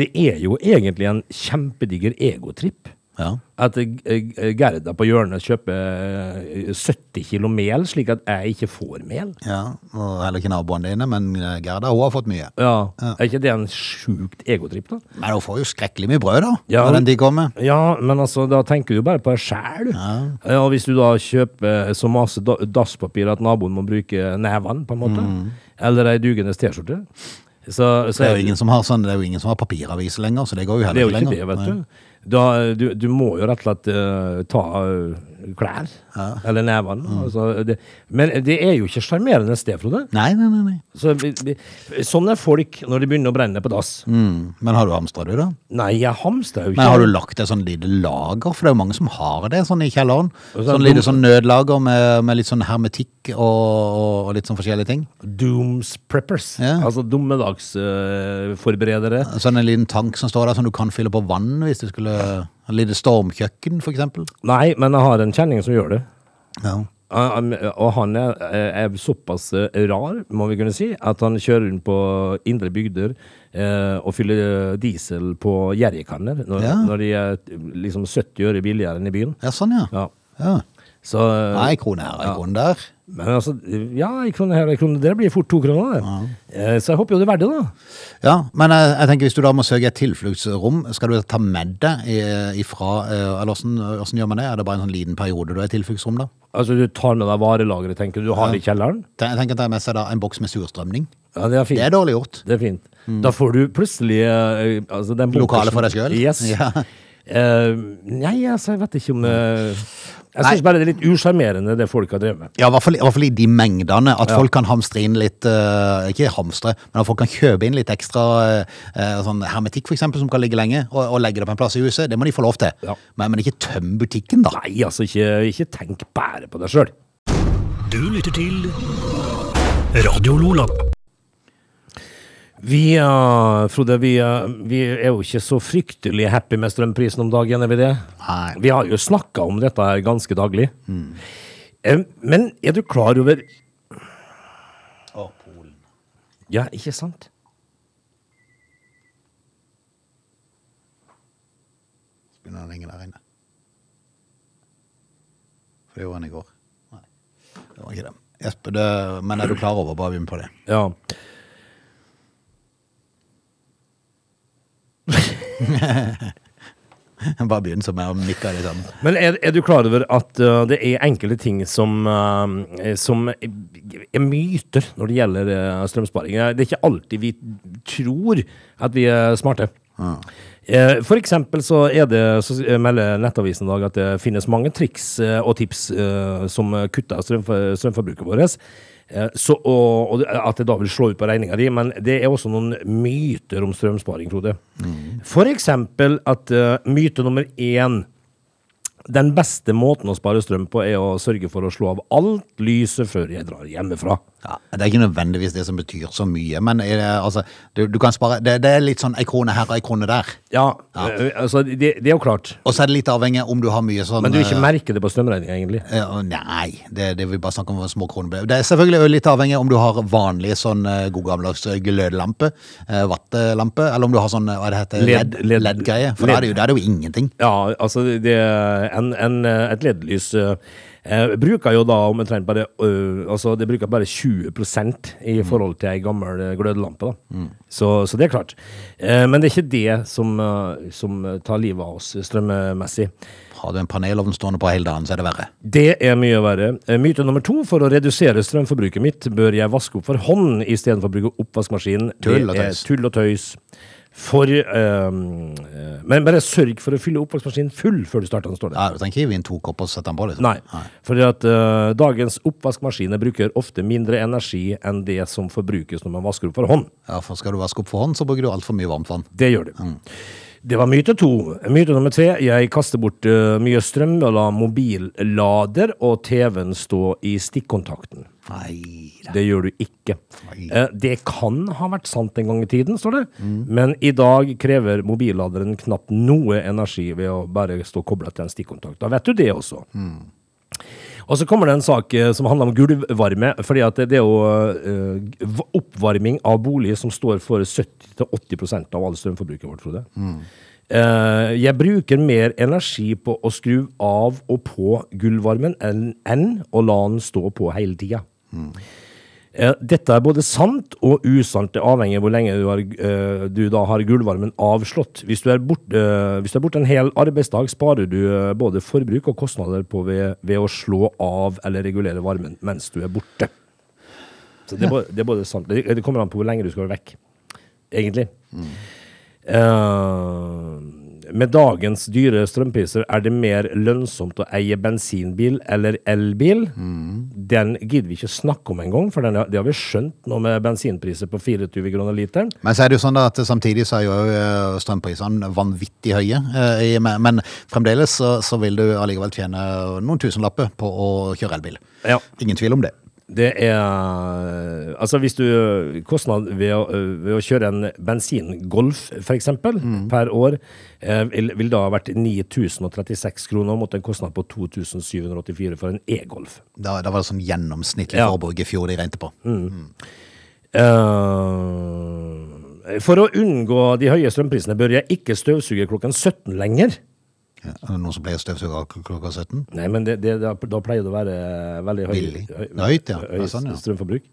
C: det er jo egentlig en kjempediger egotripp.
A: Ja.
C: At eh, Gerda på hjørnet kjøper eh, 70 kilo mel, slik at jeg ikke får mel.
A: ja. Og heller ikke naboene dine, men eh, Gerda hun har fått mye.
C: Ja, Er ikke det en sjukt egotripp, da?
A: Men hun får jo skrekkelig mye brød, da.
C: Ja.
A: Når den de kommer.
C: Ja, men altså, da tenker du jo bare på deg sjæl. Ja. Og hvis du da kjøper så masse da- dasspapir at naboen må bruke nevene, på en måte, eller ei dugende T-skjorte så, så
A: Mm. Det er jo ingen som har sånn, det er jo ingen som har papiravis lenger, så det går jo
C: det er
A: heller
C: jo ikke
A: lenger.
C: det, vet du. Da, du. Du må jo rett og slett eh, ta eh, klær, eller nevene.
A: Mm.
C: Altså, det, men det er jo ikke sjarmerende sted, Frode.
A: Nei, nei, nei. nei.
C: Så, vi, vi, sånn er folk når de begynner å brenne på dass.
A: Mm. Men har du hamstra, du, da?
C: Nei, jeg hamstrer jo ikke.
A: Men har du lagt et sånn lite lager, for det er jo mange som har det sånn i kjelleren.
C: Og så er
A: Sånn
C: det
A: lite sånn nødlager med, med litt sånn hermetikk og, og litt sånn forskjellige ting.
C: Dooms preppers,
A: Ja.
C: altså dommedagsforberedere.
A: Sånn en liten tank som står der som du kan fylle på vann hvis du skulle En lite stormkjøkken, for eksempel.
C: Nei, men jeg har en kjenning som gjør det.
A: Ja.
C: Han- han- Og han er, eh, er såpass eh, rar, må vi kunne si, at han kjører rundt på indre bygder eh, og fyller diesel på jerrykanner når,
A: Ja.
C: når de er liksom 70 øre billigere enn i byen.
A: ja, sånn, ja.
C: Ja.
A: ja.
C: Så, eh,
A: Nei, krone her, ei krone der.
C: Men altså, ja, en krone her og en krone der blir fort to kroner. det. Eh, Så jeg håper jo det er verdt det, da.
A: Ja, men jeg, jeg tenker hvis du da må søke et tilfluktsrom, skal du ta med deg i- ifra eh, Eller hvordan, hvordan gjør man det? Er det bare en sånn liten periode du er i tilfluktsrom, da?
C: Altså, du tar med deg varelageret, tenker du. Du har det i kjelleren.
A: Jeg tenker at jeg har med seg da en boks med surstrømning.
C: Ja, det er fint.
A: Det er dårlig gjort.
C: Det er fint. Da får du plutselig eh, altså den
A: Lokale
C: bunkersen-
A: for deg selv?
C: Yes.
A: [laughs] Ja.
C: Eh, nei, altså, jeg vet ikke om eh, Jeg syns
A: Nei.
C: bare det er litt usjarmerende, det folk har drevet med.
A: Ja, i hvert fall, i hvert fall i de mengdene. At folk kan hamstre inn litt eh, Ikke hamstre, men at folk kan kjøpe inn litt ekstra eh, eh, sånn hermetikk, for eksempel, som kan ligge lenge, og, og legge det på en plass i huset. Det må de få lov til.
C: Ja.
A: Men, men ikke tøm butikken, da.
C: Nei, altså, ikke, ikke tenk bare på deg sjøl.
B: Du lytter til Radio Lola.
C: Vi, eh, Frode, vi, eh, vi er jo ikke så fryktelig happy med strømprisen om dagen, er vi det?
A: Nei. Mm.
C: Vi har jo snakka om dette her ganske daglig. Eh, men er du klar over Ja, ikke sant?
A: Begynner den å ringe der inne. For det gjorde den i går. Nei, det var ikke det. Jesper, det, men er du klar over bare begynn på det? [laughs]
C: Ja.
A: Bare begynn som jeg nikker det sammen.
C: Men er, er du klar over at eh, det er enkelte ting som, eh, som er myter når det gjelder eh, strømsparing? Eh, Det er ikke alltid vi tror at vi er smarte. Eh, For eksempel så, er det, så s- melder Nettavisen i dag at det finnes mange triks eh, og tips eh, som kutter strømfor, strømforbruket vårt. Eh, Så, og, og at det da vil slå ut på regninga di, men det er også noen myter om strømsparing, Frode. For eksempel at eh, myte nummer én den beste måten å spare strøm på er å sørge for å slå av alt lyset før jeg drar hjemmefra.
A: Ja, det er ikke nødvendigvis det som betyr så mye, men er det, altså, du, du kan spare det, det er litt sånn ei krone her og ei krone der.
C: Ja, eh, altså det, det er jo klart.
A: Og så er det litt avhengig om du har mye sånn
C: Men du ikke
A: eh,
C: merker det på strømregninga, egentlig.
A: eh, Nei, det, det vil bare snakke om små kronebeløp. Det er selvfølgelig jo litt avhengig om du har vanlig sånn eh, god gammeldags eh, glødelampe, eh, vattelampe, eller om du har sånn eh, hva det heter,
C: Led-
A: led,
C: led-
A: LED-greie. for da er, det jo, da er det jo ingenting.
C: Ja, altså det, en, en, eh, et ledelys eh, eh, bruker jo da omtrent bare eh, Altså det bruker bare 20 i forhold til ei gammel eh, glødelampe, da. Så, så det er klart. Eh, men det er ikke det som, eh, som tar livet av oss strømmessig.
A: Har du en panelovn stående på hele dagen, så er det verre.
C: Det er mye verre. Eh, Myte nummer to. For å redusere strømforbruket mitt, bør jeg vaske opp for hånd istedenfor å bruke oppvaskmaskin.
A: Tull og
C: Det er
A: tøys.
C: Tull og tøys. For ehm, eh, Men bare sørg for å fylle oppvaskmaskinen full før du starter den, står det.
A: Ja, Du trenger ikke hive inn to kopper og sette den på, liksom.
C: Nei. For at eh, dagens oppvaskmaskiner bruker ofte mindre energi enn det som forbrukes når man vasker opp for hånd.
A: Ja, for skal du vaske opp for hånd, så bruker du altfor mye varmt vann.
C: Det gjør det. Det var myte to. Myte nummer tre. Jeg kaster bort eh, mye strøm og lar mobillader og TV-en stå i stikkontakten.
A: Nei da.
C: Det gjør du ikke. Eh, Det kan ha vært sant en gang i tiden, står det. Men i dag krever mobilladeren knapt noe energi ved å bare stå kobla til en stikkontakt. Da vet du det også. Og så kommer det en sak eh, som handler om gulvvarme. fordi at det- det er jo eh, v- oppvarming av bolig som står for 70-80 av all strømforbruket vårt, Frode. Eh, jeg bruker mer energi på å skru av og på gulvvarmen enn, enn å la den stå på hele tida. Eh, Dette er både sant og usant. Det avhenger av hvor lenge du, har, eh, du da har gulvarmen avslått. Hvis du er borte eh, bort en hel arbeidsdag, sparer du eh, både forbruk og kostnader på ved, ved å slå av eller regulere varmen mens du er borte. Så det, er både, det er både sant. Det, det kommer an på hvor lenge du skal være vekk, egentlig. Eh, med dagens dyre strømpriser er det mer lønnsomt å eie bensinbil eller elbil. Den gidder vi ikke snakke om engang, for den, det har vi skjønt nå med bensinpriser på 24 kroner literen.
A: Men så er det jo sånn da at samtidig så er jo eh, strømprisene vanvittig høye. eh, i- Men men fremdeles så, så vil du allikevel tjene noen tusenlapper på å kjøre elbil.
C: Ja.
A: Ingen tvil om det.
C: Det er Altså, hvis du Kostnad ved å, ved å kjøre en bensingolf, f.eks., per år, eh, vil, vil da ha vært 9036 kroner mot en kostnad på 2784 for en e-golf.
A: Da, da var det sånn gjennomsnittlig
C: Ja. Mm.
A: forbruk i fjor de regnet på.
C: Eh, for å unngå de høye strømprisene bør jeg ikke støvsuge klokken 17 lenger.
A: Ja, er det Noen som ble støvsuga kl- klokka 17?
C: Nei, men det, det, da, da pleier det å være veldig høy,
A: Billig.
C: høy,
A: Det er høyt, ja.
C: høy
A: Det er sånn, ja.
C: strømforbruk.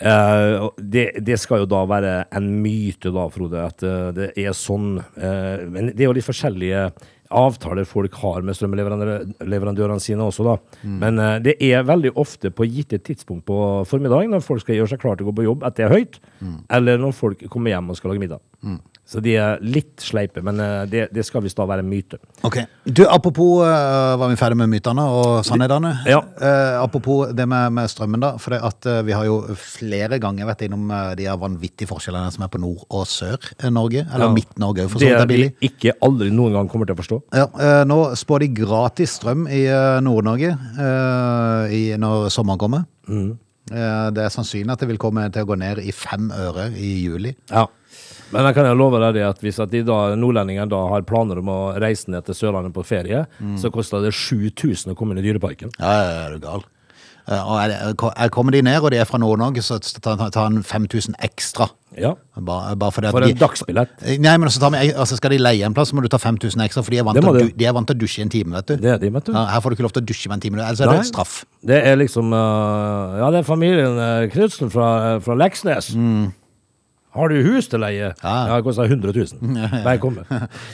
C: Eh, og det, det skal jo da være en myte, da, Frode, at eh, det er sånn. Eh, men det er jo litt forskjellige avtaler folk har med strømleverandørene sine også, da.
A: Mm.
C: Men eh, det er veldig ofte på gitte tidspunkt på formiddagen når folk skal gjøre seg klar til å gå på jobb, at det er høyt.
A: Mm.
C: Eller når folk kommer hjem og skal lage middag. Så de er litt sleipe, men eh, det, det skal visst da være en myte.
A: Ok. Du, apropos eh, var vi ferdig med mytene og sannhetene.
C: Ja.
A: Eh, apropos det med, med strømmen, da. For det at eh, vi har jo flere ganger vært innom eh, de her vanvittige forskjellene som er på Nord- og Sør-Norge. Eller
C: Ja.
A: Midt-Norge, for så
C: Det
A: vidt. er
C: vi
A: billig.
C: ikke aldri noen gang kommer til å forstå.
A: Ja, eh, nå spår de gratis strøm i eh, Nord-Norge eh, i- når sommeren kommer.
C: Mm.
A: Eh, det er sannsynlig at det vil komme til å gå ned i fem øre i juli.
C: Ja. Men jeg kan jo love deg det at hvis at de da, nordlendingene da har planer om å reise ned til Sørlandet på ferie,
A: Mm.
C: så koster det 7000 å komme inn i Dyreparken.
A: Ja, ja, ja, er du gal. Eh, og er det, er, kommer de ned, og de er fra Nord-Norge, så tar ta, ta en 5000 ekstra.
C: Ja.
A: Bare, bare fordi at
C: For
A: de-
C: en dagsbillett.
A: Eh, Nei, men så tar vi, altså skal de leie en plass, så må du ta 5000 ekstra, for de er vant,
C: Det
A: til,
C: må
A: å
C: du.
A: du- de er vant til å dusje i en time, vet du.
C: Det er de, vet du.
A: Ja, her får du ikke lov til å dusje med en time, ellers er det
C: Nei.
A: straff. [laughs]
C: Det er liksom eh, Ja, det er familien uh, Knutsen fra, fra Leksnes. Har du hus til leie?
A: Mm. Ja.
C: det koster 100
A: [laughs]
C: 000. Velkommen.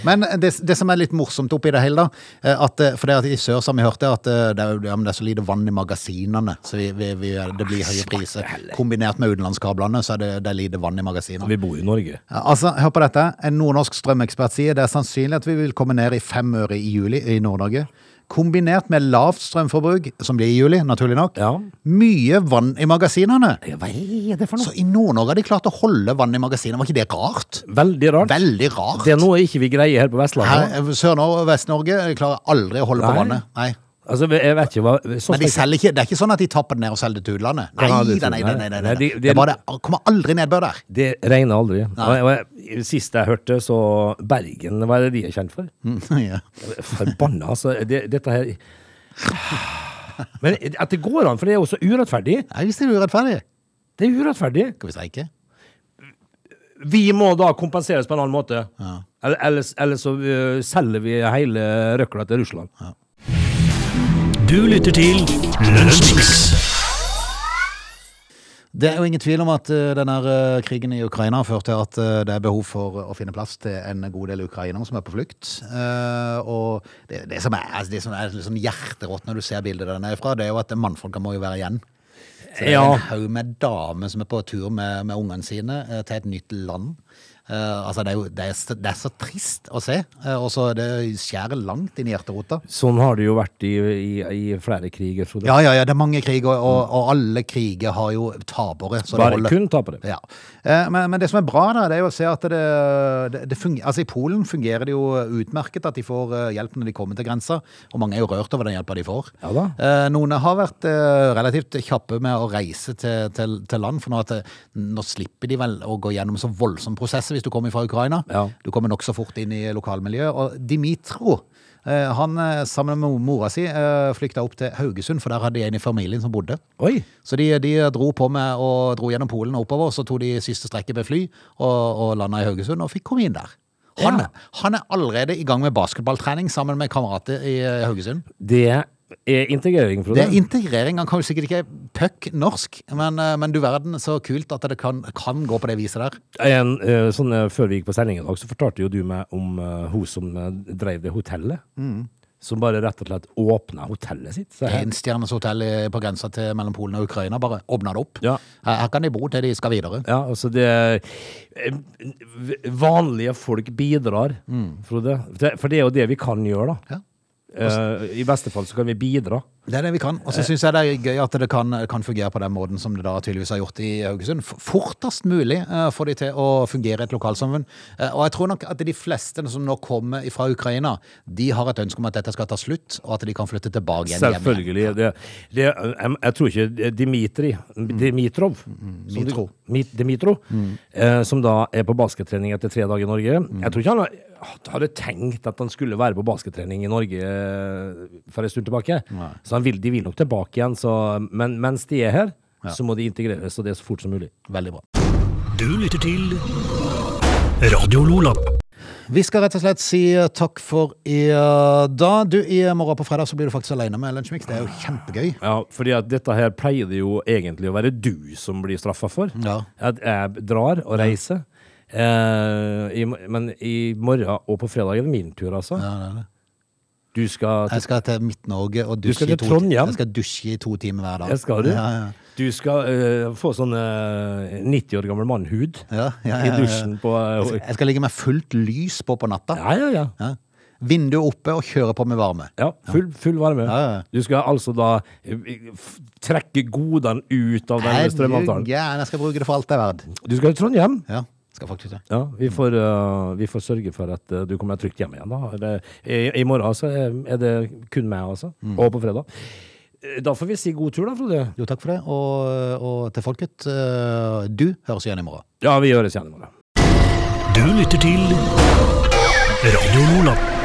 A: Men det, det som er litt morsomt oppi det hele, da, eh, at, eh, for det at i sør så har vi hørt det, at eh, det er, jo- ja, men det er så lite vann i magasinene, så vi, vi, vi, det blir høye priser. Kombinert med utenlandskablene, så er det, det er lite vann i magasinene.
C: Vi bor i Norge.
A: Ja, Altså, hør på dette. En nordnorsk strømekspert sier det er sannsynlig at vi vil komme ned i fem øre i juli i Nord-Norge. Kombinert med lavt strømforbruk, som blir i juli, naturlig nok.
C: Ja.
A: Mye vann i magasinene.
C: Hva er det for
A: Så i Nord-Norge har de klart å holde vann i magasinene. Var ikke det rart?
C: Veldig rart.
A: Veldig rart.
C: Det er noe ikke vi greier her på Vestlandet.
A: Her- Sør-Norge og Vest-Norge de klarer aldri å holde på
C: Nei.
A: vannet. Nei.
C: Altså, jeg vet ikke hva så
A: Men de selger ikke, det er ikke sånn at de tapper det ned og selger det til utlandet. Nei,
C: Ja,
A: nei,
C: det tror
A: nei,
C: jeg.
A: nei, nei, nei,
C: Nei, de- de-
A: Det, er bare, det kommer aldri nedbør der. [laughs]
C: Det regner aldri. Og jeg, og jeg, sist jeg hørte, så Bergen, hva er det de er kjent for?
A: ja.
C: Forbanna, altså. Det, dette her Men at det går an, for det er jo så urettferdig.
A: Nei, hvis det er urettferdig.
C: Det er urettferdig.
A: Skal vi streike?
C: Vi må da kompenseres på en annen måte. Eller- Ellers, ellers så øh, selger vi hele røkla til Russland.
B: Du lytter til Lunsjmix.
A: Det er jo ingen tvil om at eh, denne eh, krigen i Ukraina har ført til at eh, det er behov for å finne plass til en god del ukrainere som er på flukt. Eh, og det, det som er, altså, det som er litt sånn hjerterått når du ser bildet der nede fra, det er jo at mannfolka må jo være igjen. Så det er
C: Ja.
A: en haug med damer som er på tur med, med ungene sine eh, til et nytt land. Eh, altså, det er jo det er, så- det er så trist å se. eh, og så det skjærer langt inn i hjerterota.
C: Sånn har det jo vært i, i, i flere kriger, Frode.
A: Ja, ja, ja, det er mange kriger, og, og alle kriger har jo tapere. Så det
C: Bare
A: holder.
C: kun tapere.
A: Ja. Eh, Men, men det som er bra, da, det er jo å se at det, det, det fungerer Altså, i Polen fungerer det jo utmerket at de får eh, hjelp når de kommer til grensa, og mange er jo rørt over den hjelpa de får.
C: Ja da.
A: Eh, Noen har vært eh, relativt kjappe med å reise til, til, til land, for nå, at, det- nå slipper de vel å gå gjennom så voldsom prosess hvis du kommer fra Ukraina.
C: Ja.
A: Du kommer nokså fort inn i lokalmiljøet. Og Dimitro, eh, han eh, sammen med mora si eh, flykta opp til Haugesund, for der hadde de en i familien som bodde.
C: Oi!
A: Så de, de dro på med og dro gjennom Polen og oppover, og så tok de siste strekket med fly og, og landa i Haugesund og fikk komme inn der. Han,
C: Ja.
A: han er allerede i gang med basketballtrening sammen med kamerater i eh, Haugesund.
C: Det er integrering, Frode.
A: Det er integrering. Han kan jo sikkert ikke puck norsk, men, eh, men du verden, så kult at det kan, kan gå på det viset der.
C: en, eh, sånn, eh, før vi gikk på sending i dag, så fortalte jo du meg om eh, hun som eh, drev det hotellet. Som bare rett og slett åpna hotellet sitt. Så jeg-
A: Enstjerners hotell i- på grensa til mellom Polen og Ukraina. Bare åpna det opp.
C: Ja.
A: Her, her kan de bo til de skal videre.
C: ja, altså det er- eh, Vanlige folk bidrar, Frode. Det- For det er jo det vi kan gjøre, da.
A: Ja.
C: Eh, I beste fall så kan vi bidra.
A: Det er det vi kan.
C: Eh.
A: Og så syns jeg det er gøy at det kan, kan fungere på den måten som det da tydeligvis har gjort i Haugesund. F- Fortest mulig eh, får de til å fungere i et lokalsamfunn. Eh, og jeg tror nok at de fleste som nå kommer fra Ukraina, de har et ønske om at dette skal ta slutt, og at de kan flytte tilbake igjen. hjem igjen.
C: Selvfølgelig. Det, det, jeg, jeg tror ikke Dimitri Dimitrov som du-
A: Mitro.
C: Mi- Dimitro, eh, som da er på baskettrening etter tre dager i Norge. Jeg tror ikke han ha- hadde tenkt at han skulle være på baskettrening i Norge eh, for en stund tilbake. Så han vil, de vil nok tilbake igjen. Så, men mens de er her, så må de integreres, og det er så fort som mulig.
A: Veldig bra.
B: Du lytter til Radio Lola.
A: Vi skal rett og slett si eh, takk for i dag. Du, i eh, morgen på fredag så blir du faktisk alene med Lunsjmix. Det er jo kjempegøy.
C: Ja, fordi at dette her pleier det jo egentlig å være du som blir straffa for.
A: Ja.
C: At jeg drar og reiser. Eh, i, mo- men i morgen og på fredag er det min tur, altså. Du skal
A: Jeg
C: til,
A: skal til Midt-Norge og dusje,
C: skal til
A: i to-
C: Trondheim?
A: Jeg skal dusje i to timer hver dag.
C: jeg skal, du.
A: Ja, ja.
C: Du skal eh, få sånn eh, 90 år gammel mannhud
A: Ja, ja, ja,
C: i
A: ja.
C: dusjen på eh,
A: Jeg skal- Jeg skal ligge med fullt lys på på natta.
C: Ja, ja, ja.
A: Ja. Vinduet oppe og kjøre på med varme.
C: Ja, full, full varme.
A: Ja, ja.
C: Du skal altså da eh, f- trekke godene ut av den strømavtalen.
A: Herregud, jeg skal bruke det for alt det er verdt.
C: Du skal til Trondheim.
A: Ja, skal faktisk det.
C: Ja, vi får, øh, vi får sørge for at øh, du kommer trygt hjem igjen. da. Det, i, I morgen så er er det kun meg, altså. Og på fredag. Eh, Da får vi si god tur, da, Frode.
A: Jo, takk for det. Og, og til folket, eh, du høres igjen i morgen.
C: Ja, vi gjøres igjen i morgen.
B: Du lytter til Radio Lola.